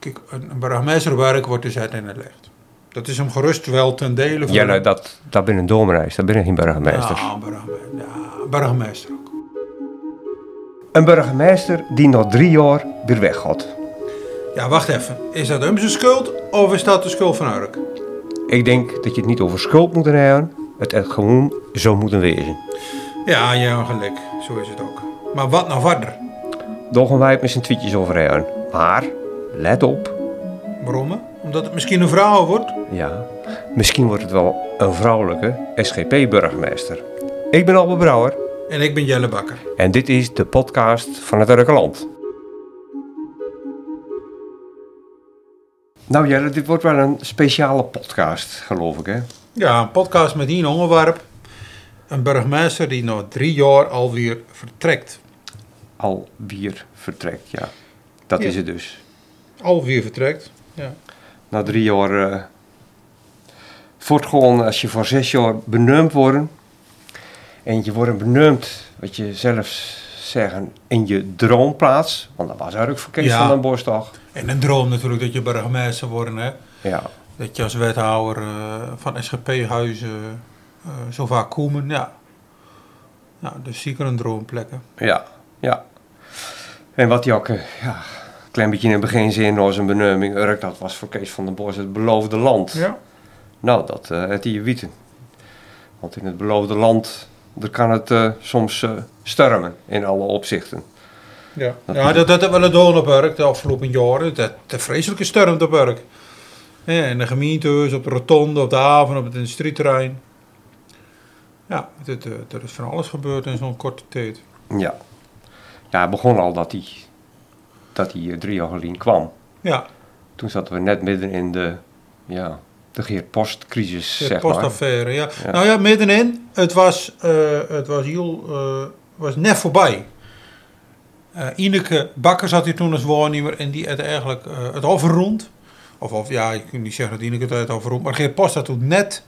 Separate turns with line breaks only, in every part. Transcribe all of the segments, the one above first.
Kijk, een een burgemeesterwerk wordt dus uit in het licht. Dat is hem gerust wel ten dele van...
Ja, nou, dat, dat ben een dominee, dat ben ik geen burgemeester.
Ja, een burgemeester, ja, een burgemeester ook.
Een burgemeester die na drie jaar weer weg had.
Ja, wacht even. Is dat hem zijn schuld of is dat de schuld van Urk?
Ik denk dat je het niet over schuld moet hebben, het echt gewoon zo moeten wezen.
Ja, jij hebt gelijk. Zo is het ook. Maar wat nou verder?
Daar gaan wij het met z'n tweetjes over hebben. Maar, let op,
Waarom? hè? Omdat het misschien een vrouw wordt?
ja, misschien wordt het wel een vrouwelijke SGP-burgemeester. Ik ben Albert Brouwer
En ik ben Jelle Bakker.
en dit is de podcast van het Urkeland. Nou Jelle, dit wordt wel een speciale podcast, geloof ik hè?
Ja, een podcast met Ian Ongewerp. Een burgemeester die na drie jaar alweer vertrekt.
Alweer vertrekt, ja. Dat
Ja.
is het dus.
Alweer vertrekt? Ja.
Na drie jaar eh voortgaan, als je voor zes jaar benoemd wordt en je wordt benoemd, wat je zelf zeggen, in je droomplaats, want dat was eigenlijk voor Kees
Ja.
van den Bosch toch?
En een droom natuurlijk dat je burgemeester wordt. Hè?
Ja.
Dat je als wethouder eh, van SGP-huizen eh zo vaak komen. Ja. Nou, dus zeker een droomplek. hè.
Ja, ja. En wat hij ook, eh, ja, een klein beetje in het begin zei na zijn benoeming, Urk, dat was voor Kees van den Bosch het beloofde land. Nou, dat eh het hier weten. Want in het beloofde land, daar kan het eh, soms eh stormen in alle opzichten.
Ja,
Dat-
ja dat, dat hebben we gedaan op werk de afgelopen jaren. Dat, de vreselijke storm op werk. Ja, in de gemeentehuis, op de rotonde, op de haven, op het industrieterrein. Ja, dat, eh, er is van alles gebeurd in zo'n korte tijd.
Ja. Ja, het begon al dat hij, dat hij eh, drie jaar geleden kwam.
Ja,
Toen zaten we net midden in de, ja, de Geert Post-crisis,
de
zeg maar.
postaffaire. Eh, Ja.
Ja.
Nou ja, middenin, het was, eh, het was, heel, eh, was net voorbij. Eh Ineke Bakker zat hier toen als waarnemer en die had eigenlijk eh, het overrond. Of, of ja, ik kan niet zeggen dat Ineke het had overrond, maar Geert Post had toen net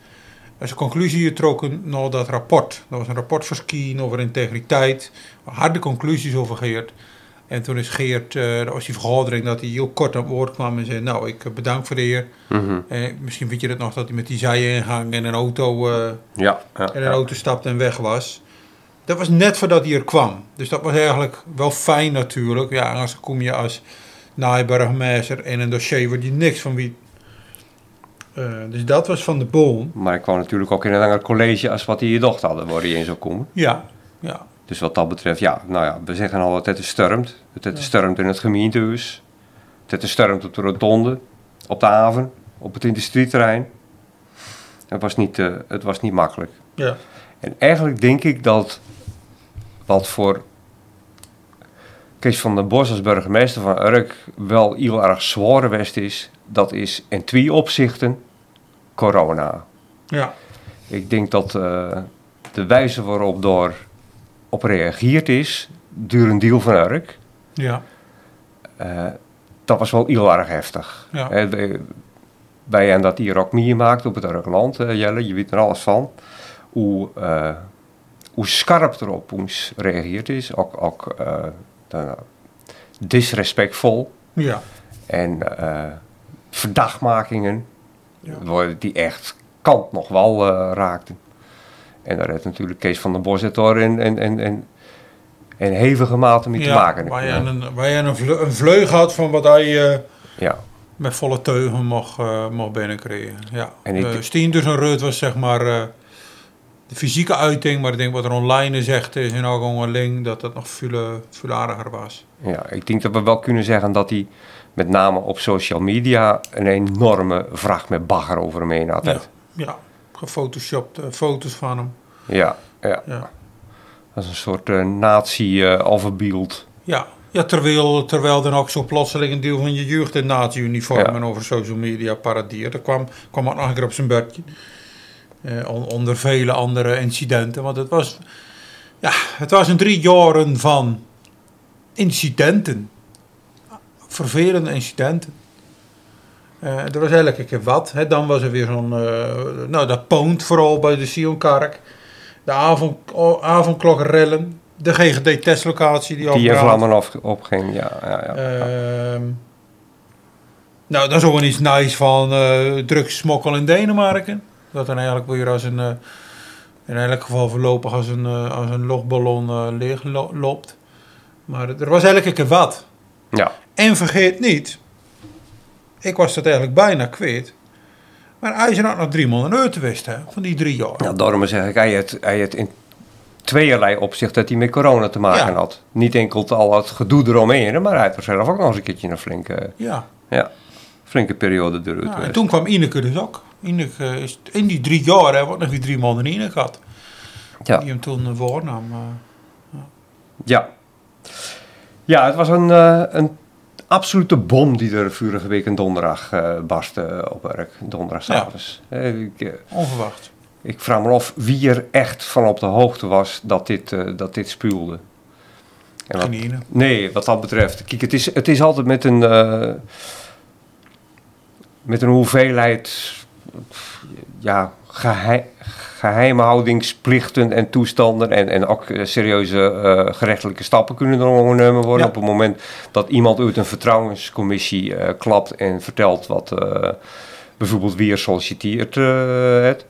eh, zijn conclusie getrokken naar dat rapport. Dat was een rapport voor skiën over integriteit. Harde conclusies over Geert. En toen is Geert, eh dat was die vergadering, dat hij heel kort aan het woord kwam en zei: Nou, ik eh, bedank voor de eer.
Mhm.
Eh, misschien vind je dat nog dat hij met die zij ingang en een auto, eh,
Ja, ja,
en een
ja.
auto stapte en weg was. Dat was net voordat hij er kwam. Dus dat was eigenlijk wel fijn natuurlijk. Ja, anders kom je als naaiburgemeester in een dossier waar je niks van wie. Eh, dus dat was van de boom.
Maar ik kwam natuurlijk ook in een ander college als wat hij je dochter hadden, waar hij in zou komen.
Ja, ja.
Dus wat dat betreft, ja, nou ja, we zeggen altijd het is stormt. Het is stormt in het gemeentehuis. Het is stormt op de rotonde, op de haven, op het industrieterrein. Het was niet, eh, het was niet makkelijk.
ja.
En eigenlijk denk ik dat wat voor Kees van den Bos als burgemeester van Urk wel heel erg zware west is, dat is in twee opzichten corona.
ja.
Ik denk dat eh, de wijze waarop daar op reageerd is, durend deal van Urk,
Ja,
eh, dat was wel heel erg heftig.
Ja.
Hè, wij- wij hebben dat hier ook meegemaakt op het Urkland, eh, Jelle, je weet er alles van. Hoe, eh, hoe scherp erop ons reageerd is, ook, ook eh, dan- disrespectvol
ja,
en eh verdachtmakingen
Ja.
waar die echt kant nog wel eh, raakten. En daar heeft natuurlijk Kees van den Bos het daar in, in, in, in, in hevige mate mee te
Ja,
maken.
Waar je, een, waar je een, vle- een vleug had van wat hij eh,
Ja.
met volle teugen mocht, eh mocht binnenkrijgen. Ja.
En ik-
Eh, Stien dus een reut was zeg maar eh, de fysieke uiting, maar ik denk wat er online is echt is in Algongeling dat dat nog veel, eh, veel aardiger was.
Ja, ik denk dat we wel kunnen zeggen dat hij met name op social media een enorme vracht met bagger over hem heen had.
Ja,
Ja,
ja. gefotoshopt eh, foto's van hem.
ja,
Ja.
dat is een soort eh, nazi-alfabeeld.
Ja, ja terwijl, terwijl dan ook zo plotseling een deel van je jeugd in nazi-uniformen over social media paradeerde. kwam, kwam ook nog een keer op zijn bedje. Eh, on- onder vele andere incidenten. Want het was, ja, het was een drie jaren van incidenten. Vervelende incidenten. Eh, er was elke keer wat. Hè. Dan was er weer zo'n... eh, nou, dat poont vooral bij de Sionkark. De avond, avondklokrellen. De GGD-testlocatie die,
die in
afbraadt.
vlammen af, opging. Ja, ja, ja.
Ehm, Nou, dat is ook wel iets nice van uh, drugssmokkel in Denemarken. Dat dan eigenlijk weer als een, uh, in elk geval voorlopig als een, uh, als een logballon eh, leeg lo loopt. Maar er was elke keer wat.
Ja.
En vergeet niet, ik was dat eigenlijk bijna kwijt. Maar IJzer had nog drie miljoen euro te wisten van die drie jaar.
Ja, daarom zeg ik, hij had, hij had in tweeërlei opzicht dat hij met corona te maken ja. had. Niet enkel al het gedoe eromheen, maar hij had er zelf ook nog eens een keertje een flinke,
ja.
Ja, flinke periode door. eh,
Ja, en toen kwam Ineke dus ook. Ineke eh, is in die drie jaar, hij wordt nog weer drie maanden Ineke had. Ja. Die hem toen eh, voornam. Uh,
ja. Ja, het was een, uh, een absolute bom die er vorige week een donderdag uh, barstte op werk. Donderdagavond. Eh,
Ja. Ik, Onverwacht.
Ik vraag me af wie er echt van op de hoogte was dat dit, uh, dat dit spuwde.
En wat,
nee, wat dat betreft. Kijk, het is, het is altijd met een, uh, met een hoeveelheid ja, geheim, geheimhoudingsplichten en toestanden. En, en ook serieuze uh, gerechtelijke stappen kunnen er ondernomen worden. Ja. Op het moment dat iemand uit een vertrouwenscommissie eh, klapt en vertelt wat eh, bijvoorbeeld wie er solliciteert eh, het.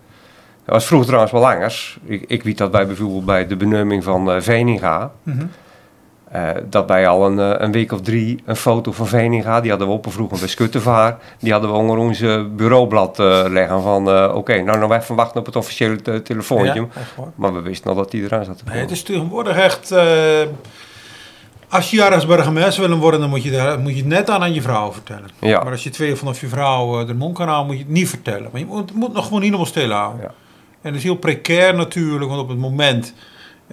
Dat was vroeger trouwens wel langers. Ik, ik weet dat bij bijvoorbeeld bij de benoeming van uh, Veninga. Mm
Mhm.
-hmm. uh, dat wij al een, uh, een, week of drie een foto van Veninga, die hadden we opgevroegen bij Skuttevaar. Die hadden we onder ons bureaublad eh, leggen van oké, okay, nou nou wij verwachten op het officiële te telefoontje. Ja, maar we wisten al dat die eraan zat te
nee, Het is tegenwoordig echt, eh, als je als burgemeester wil worden, dan moet je, daar, moet je het net aan aan je vrouw vertellen.
Ja.
Maar als je twee vanaf je vrouw eh, de mond kan houden, moet je het niet vertellen. Maar je moet, moet nog gewoon helemaal stil houden. Ja. En dat is heel precair natuurlijk, want op het moment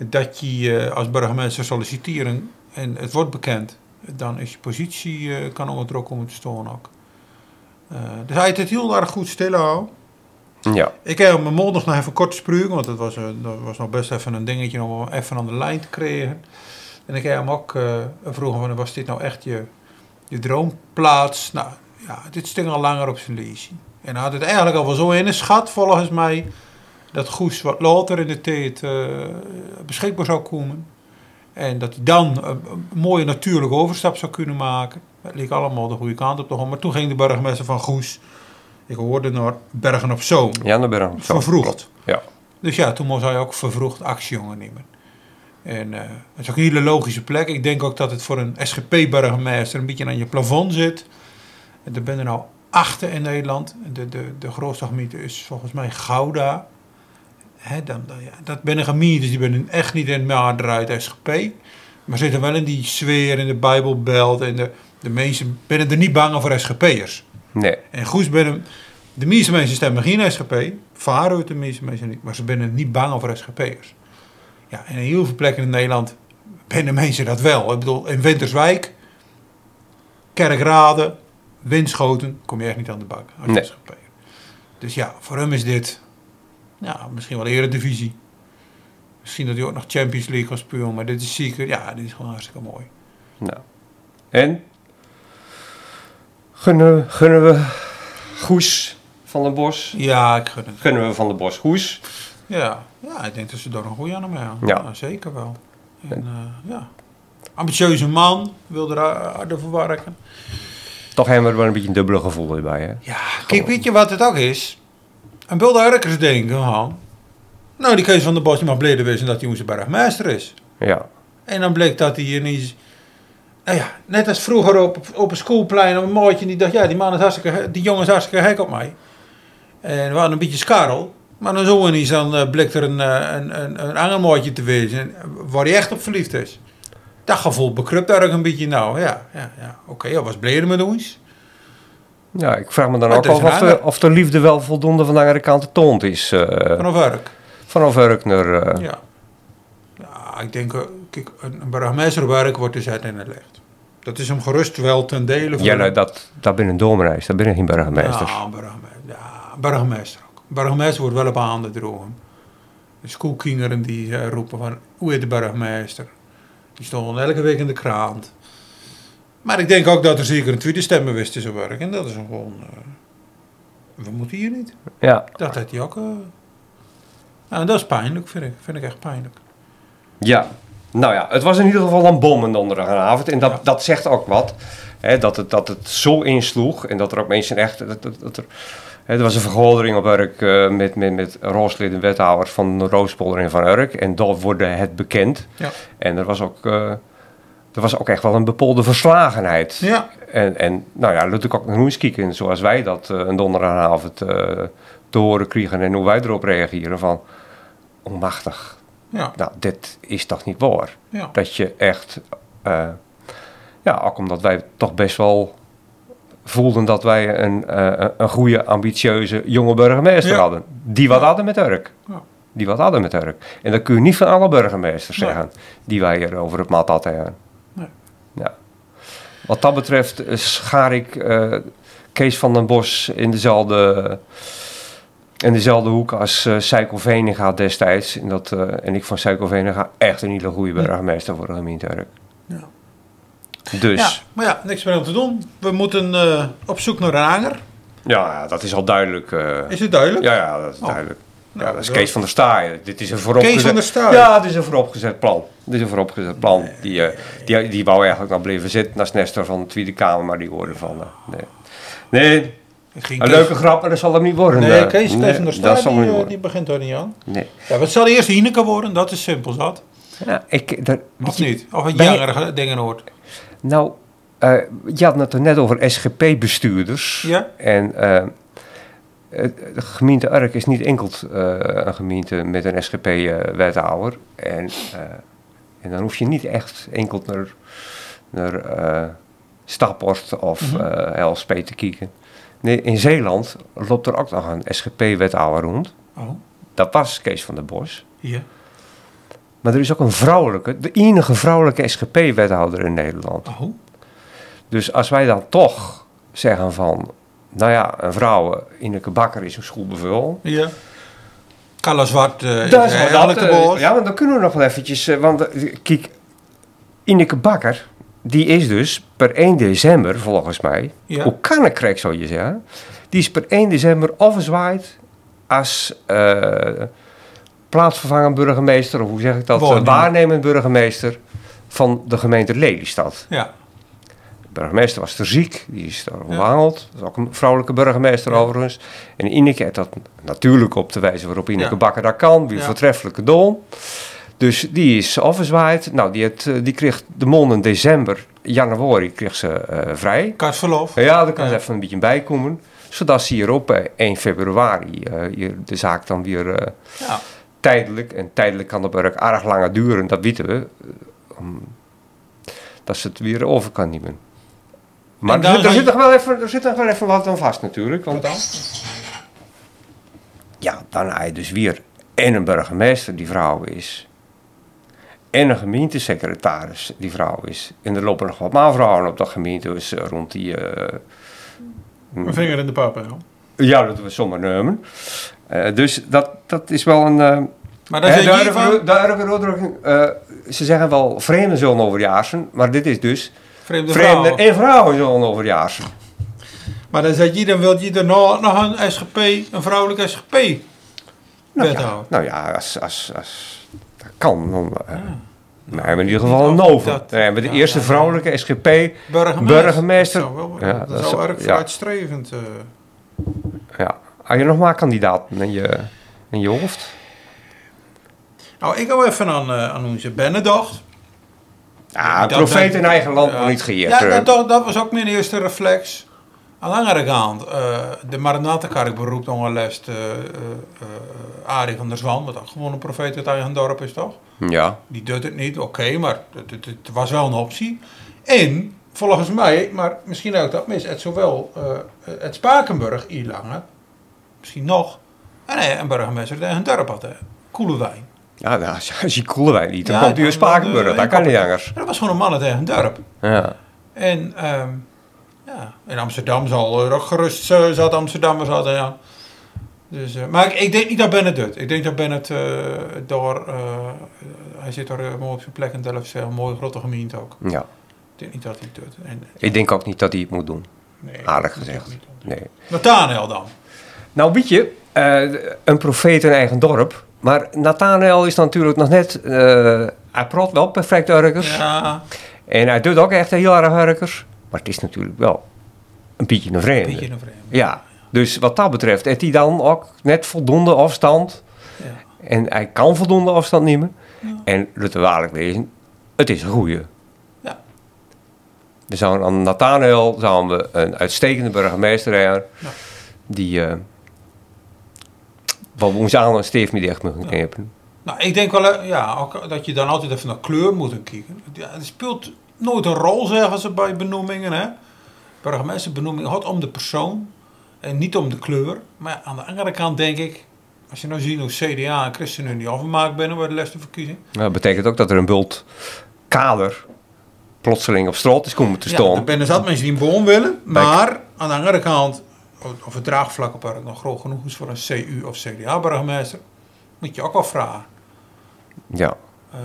dat je eh, als burgemeester solliciteren en het wordt bekend, dan is je positie eh, kan onder druk komen te staan ook. Uh, dus hij heeft het heel erg goed stilhouden.
Ja.
Ik heb mijn mond nog even kort sprugen, want dat was, dat was nog best even een dingetje om even aan de lijn te krijgen. En ik heb hem ook uh, vroegen van, was dit nou echt je, je droomplaats? Nou ja, dit sting al langer op zijn leesje. En hij had het eigenlijk al wel zo in een schat volgens mij dat Goes wat later in de tijd uh, beschikbaar zou komen. En dat hij dan een, een mooie natuurlijke overstap zou kunnen maken. Dat leek allemaal de goede kant op te gaan. Maar toen ging de burgemeester van Goes, ik hoorde naar Bergen op Zoom.
Ja, naar Bergen op Zoom.
Vervroegd.
Ja.
Dus ja, toen moest hij ook vervroegd actie ondernemen. En uh, dat is ook een hele logische plek. Ik denk ook dat het voor een SGP-burgemeester een beetje aan je plafond zit. En er ben er nou achter in Nederland. De, de, de grootste gemeente is volgens mij Gouda. He, dan, dan, ja, dat ben een gemeente, die ben echt niet in het uit SGP. Maar zitten wel in die sfeer, in de Bijbelbelt. En de, de mensen ben er niet bang voor SGP'ers.
Nee.
En goed, ben de meeste mensen stemmen geen SGP. Varen de meeste mensen niet. Maar ze zijn niet bang voor SGP'ers. Ja, en in heel veel plekken in Nederland de mensen dat wel. Ik bedoel, in Winterswijk, Kerkrade, Winschoten, kom je echt niet aan de bak als nee. SGP. Dus ja, voor hem is dit ja, misschien wel Eredivisie. Misschien dat hij ook nog Champions League kan spelen, maar dit is zeker, ja, dit is gewoon hartstikke mooi.
Nou. En? Gunnen, gunnen we Goes van den Bos?
Ja, ik gun het.
Gunnen we van den Bos Goes?
Ja, ja ik denk dat ze daar een goede aan hebben.
Ja.
ja. zeker wel. En, uh, ja. Ambitieuze man, wil er harder voor werken.
Toch hebben we er wel een beetje een dubbele gevoel erbij, hè?
Ja, kijk, weet je wat het ook is? En wilde ergens denken van... Nou, die Kees van der Bos mag blij wezen dat hij onze bergmeester is.
Ja.
En dan bleek dat hij ineens... Nou ja, net als vroeger op, op een schoolplein op een mooitje. Die dacht, ja, die, man is hartstikke, die jongen is hartstikke gek op mij. En we hadden een beetje skarrel. Maar dan zo ineens dan uh, bleek er een, uh, een, een, een ander mooitje te wezen. Waar hij echt op verliefd is. Dat gevoel bekrupt daar ook een beetje. Nou, ja, ja, ja. Oké, okay, hij was blij met ons.
Ja, ik vraag me dan maar ook af of de, of de, liefde wel voldoende van de andere kant getoond is. Uh,
vanaf werk.
Vanaf werk naar... Uh,
ja. ja. ik denk, eh, kijk, een burgemeester werk wordt dus uit in het licht. Dat is hem gerust wel ten dele van...
Ja, nou, dat, dat binnen een dominee, dat binnen geen burgemeester.
Ja, een burgemeester, ja, burgemeester ook. Een burgemeester wordt wel op handen drogen. De schoolkinderen die uh, roepen van, hoe is de burgemeester? Die stonden elke week in de krant. Maar ik denk ook dat er zeker een tweede stemmenwist is op werk. En dat is gewoon. Uh, we moeten hier niet.
Ja.
Dat had eh, hij ook. Uh, nou, dat is pijnlijk, vind ik. Vind ik echt pijnlijk.
Ja. Nou ja, het was in ieder geval een bom een donderdagavond. En dat,
Ja.
dat zegt ook wat. Hè, dat, het, dat het zo insloeg. En dat er ook mensen echt... Dat, dat, dat er, hè, er was een vergadering op Urk eh, met, met, met raadsleden en wethouders van Roospolder en van Urk. En daar wordt het bekend.
Ja.
En er was ook... eh, er was ook echt wel een bepolde verslagenheid.
Ja.
En, en nou ja, natuurlijk ook naar kieken, zoals wij dat eh, een donderdagavond eh, te horen kregen en hoe wij erop reageren van onmachtig.
Ja.
Nou, dit is toch niet waar?
Ja.
Dat je echt, eh, ja, ook omdat wij toch best wel voelden dat wij een, eh, een goede, ambitieuze jonge burgemeester
Ja.
hadden. Die wat hadden met Urk.
Ja.
Die wat hadden met Urk. En dat kun je niet van alle burgemeesters
Nee.
zeggen die wij hier over het mat hadden.
Nee.
Ja. Wat dat betreft eh, schaar ik eh, Kees van den Bos in dezelfde, in dezelfde hoek als eh Seiko Venega destijds. En, dat, eh, en ik van Seiko Venega echt een hele goede burgemeester voor de gemeente Urk.
Ja.
Dus,
Ja, maar ja, niks meer aan te doen. We moeten eh, op zoek naar een hanger.
ja. dat is al duidelijk. eh.
Is het duidelijk?
ja, ja, dat is
Oh.
duidelijk.
Nou,
ja, dat is
dat-
Kees van der Staaij. Dit is een vooropgezet...
Kees van der Staaij.
Ja, dit is een vooropgezet plan. Dit is een vooropgezet plan. Die, eh, die, die wou eigenlijk nog blijven zitten naast Nestor van de Tweede Kamer, maar die hoorde van... eh, nee. nee,
Ik ging
een
Kees-
leuke grap, maar dat zal hem niet worden.
Nee,
eh.
Kees, Kees van der Staaij,
dat zal
die,
hem niet
eh,
worden.
die begint daar niet aan.
Nee.
Ja, maar het zal eerst Hineke worden, dat is simpel zat.
Ja, ik, daar, weet
Of
je,
niet? Of een
ben je-
jaren dingen hoort.
nou, eh, je had het er net over SGP-bestuurders.
Ja.
En eh, het- de gemeente Urk is niet enkel eh, een gemeente met een SGP-wethouder. eh, en, eh, en dan hoef je niet echt enkel naar, naar eh, Staphorst of eh LSP te kijken. Nee, in Zeeland loopt er ook nog een SGP-wethouder rond.
Oh,
Dat was Kees van der Bos.
hier.
Maar er is ook een vrouwelijke, de enige vrouwelijke SGP-wethouder in Nederland.
Oh,
Dus als wij dan toch zeggen van, nou ja, een vrouw eh, in een bakker is een schoolbevel.
hier. Carla Zwart eh
Dat
is
wel
eigenlijk de
eh,
boos.
Ja, want dan kunnen we nog wel eventjes, eh, want eh, kijk, Ineke Bakker, die is dus per 1 december volgens mij,
Ja.
hoe kan ik krijg zo je zeggen, die is per 1 december afgezwaaid als eh plaatsvervangend burgemeester, of hoe zeg ik dat, eh,
Waarnemer.
waarnemend burgemeester van de gemeente Lelystad.
Ja.
De burgemeester was te ziek, die is daar behandeld. Dat is ook een vrouwelijke burgemeester overigens. En Ineke had dat natuurlijk op de wijze waarop Ineke
Ja.
Bakker dat kan, weer
Ja.
voortreffelijke dol. Dus die is afgezwaaid. Nou, die, had, eh, die kreeg de mond in december, januari kreeg ze eh, vrij.
Kaartverlof.
Nou Ja, daar kan ze
Ja.
even een beetje bij komen. Zodat ze hier op eh, 1 februari eh, hier de zaak dan weer eh,
Ja.
tijdelijk, en tijdelijk kan dat werk erg langer duren, dat weten we, eh, om- dat ze het weer over kan nemen. Maar
En
er,
daar
zit- er
zou
zit
je-
nog wel even, er zit nog wel even wat aan vast natuurlijk.
Wat
Want
dan?
ja, dan heb je dus weer en een burgemeester die vrouw is. En een gemeentesecretaris die vrouw is. En er lopen nog wat maanvrouwen op dat gemeente dus, eh, rond die... eh, Hm.
Een vinger in de pap, hè.
ja, dat we zomaar nemen. Eh, dus dat, dat is wel een... eh,
Maar dan
Hè,
zeg
de
je
Urker-
hiervan,
de Urker Roodrug, eh, ze zeggen wel vreemden zullen over jaarsen, maar dit is dus
vreemde
vreemden
vrouwen.
en vrouwen zullen over jaarsen.
Maar dan zeg je, dan wil je er nog, nog een SGP, een vrouwelijke SGP
Nou ja,
wethouder. Ah.
nou ja als, als, als dat kan, dan eh, dan hebben we in ieder geval een over.
Nou, Dat-
Dan hebben we de
ja,
eerste
ja, ja.
vrouwelijke SGP.
Burgemeester.
Burgemeester.
Dat zou, wel,
Ja,
dat
dat
zou
zou-
erg
ja.
vooruitstrevend... eh,
Ja. Had je nog maar kandidaten in je, in je hoofd?
Nou, ik hou even aan, eh, aan onze Bennedocht.
Ja,
Dat-
Ah, profeet
dat-
in eigen land nog niet geëerd.
Ja,
eh.
dat, dat, dat was ook mijn eerste reflex. Aan langere kant, eh, de Maranatenkerk beroept ongelest eh eh eh, Arie van der Zwan, wat ook gewoon een profeet uit eigen dorp is, toch?
ja.
Die doet het niet, oké, maar het, het- het was wel een optie. En, volgens mij, maar misschien ook dat mis, het zowel eh, het Spakenburg, Ilange, misschien nog, en hij een burgemeester uit eigen dorp had, hè, Koelewijn.
ja nou, als, als je Koelewijn niet, dan
Ja,
komt u in
dan- eh,
Spakenburg.
dan-
Dat kan niet anders.
Dat was gewoon een man uit eigen dorp.
Ja.
En ehm, ja, in Amsterdam zal er ook gerust eh, zat Amsterdammers hadden, ja. Dus, eh, maar ik, ik denk niet dat Bennett doet. Ik denk dat Bennett eh door... eh, hij zit daar eh, mooi op zijn plek in Delft. Een mooie grote gemeente ook.
ja.
Ik denk niet dat hij het doet. En,
Ik denk ook niet dat hij het moet doen.
nee,
Aardig
dat is
gezegd.
ook niet.
Nee.
Nathaniel dan.
Nou, weet je, eh, een profeet in eigen dorp. Maar Nathanael is dan natuurlijk nog net eh, hij praat wel perfect hurkers.
Ja,
En hij doet ook echt heel erg hurkers. Maar het is natuurlijk wel een pietje een
een
vreemde.
beetje een vreemde.
Ja, dus wat dat betreft heeft hij dan ook net voldoende afstand.
Ja.
En hij kan voldoende afstand nemen.
Ja.
En laten we waarlijk wezen, het is een goeie.
Ja.
We zouden aan Nathaniel zouden we een uitstekende burgemeester hebben. Die eh wat we ons aan een steef niet echt moeten knippen.
Nou, ik denk wel eh, ja, ook dat je dan altijd even naar kleur moet kijken. Ja, het speelt nooit een rol, zeggen ze bij benoemingen. Hè? Burgemeesterbenoeming gaat om de persoon en niet om de kleur. Maar aan de andere kant denk ik, als je nou ziet hoe CDA en ChristenUnie afgemaakt binnen bij de laatste verkiezing.
Nou, dat betekent ook dat er een bult kader plotseling op straat is komen te
Ja,
staan.
er zijn zat mensen die een boom willen. Maar aan de andere kant, of het draagvlak op Urk nog groot genoeg is voor een CU of CDA-burgemeester, moet je ook wel vragen.
ja.
Eh,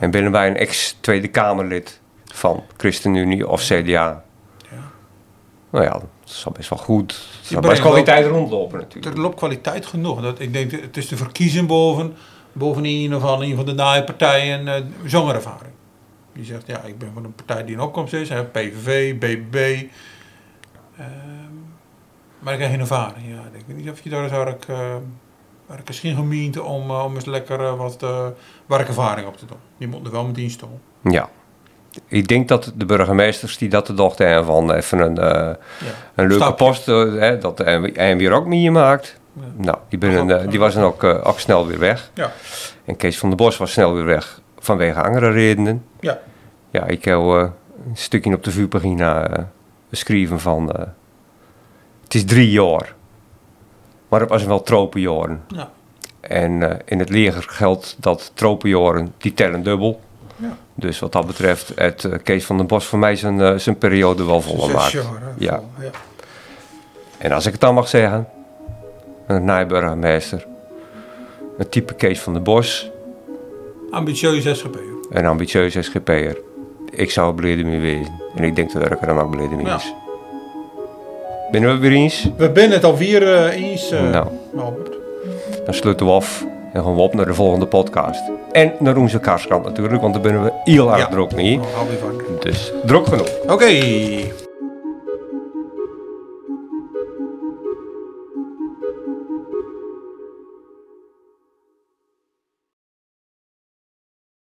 En binnen wij een ex-Tweede Kamerlid van ChristenUnie of CDA. Nou ja, dat is al best wel goed. Dat zal
brengt
best
wel-
kwaliteit rondlopen natuurlijk.
Er loopt kwaliteit genoeg. Dat, ik denk, het is te verkiezen boven, boven in ieder geval een van de naaie partijen eh zongervaring. Die zegt, ja, ik ben van een partij die in opkomst is. Hè, PVV, BBB. ehm, maar ik heb geen ervaring. Ja. Ik weet niet of je daar eens eigenlijk... eh waar ik misschien gemeente om, eh, om eens lekker eh, wat eh, werkervaring op te doen. Die moet er wel met dienst om.
Ja. Ik denk dat de burgemeesters die dat de dochter hebben van even een, eh,
Ja.
een leuke
Stapje.
post, eh, hè, dat de NW en weer ook mee maakt.
Ja. Oh,
Nou, die, binnen,
Dat is
eh,
ook-
die was dan ook, eh, ook snel weer weg.
Ja.
En Kees van der Bos was snel weer weg vanwege andere redenen.
Ja.
Ja, ik heb eh, een stukje op de vuurpagina eh geschreven van. eh, het is drie jaar. Maar het was wel tropenjaren.
Ja.
En eh, in het leger geldt dat tropenjaren, die tellen dubbel.
Ja.
Dus wat dat betreft, het eh, Kees van den Bos voor mij zijn, eh, zijn periode wel volle
Zes
maakt.
jaar, hè,
Ja.
vol, ja.
En als ik het dan mag zeggen, een naaiburgemeester, een type Kees van den Bos,
Ambitieus SGP. hoor.
een ambitieuze SGP'er. Ik zou er blijde mee wezen. En ik denk dat ik er dan ook blijde mee
Ja.
is. Ben je het weer eens?
We zijn het alweer eh, eens, eh,
Nou,
Albert.
dan sluiten we af en gaan we op naar de volgende podcast. En naar onze kaarskant natuurlijk, want daar ben we heel erg
Ja.
druk mee.
Oh, hou weer van.
Dus druk genoeg.
Okay.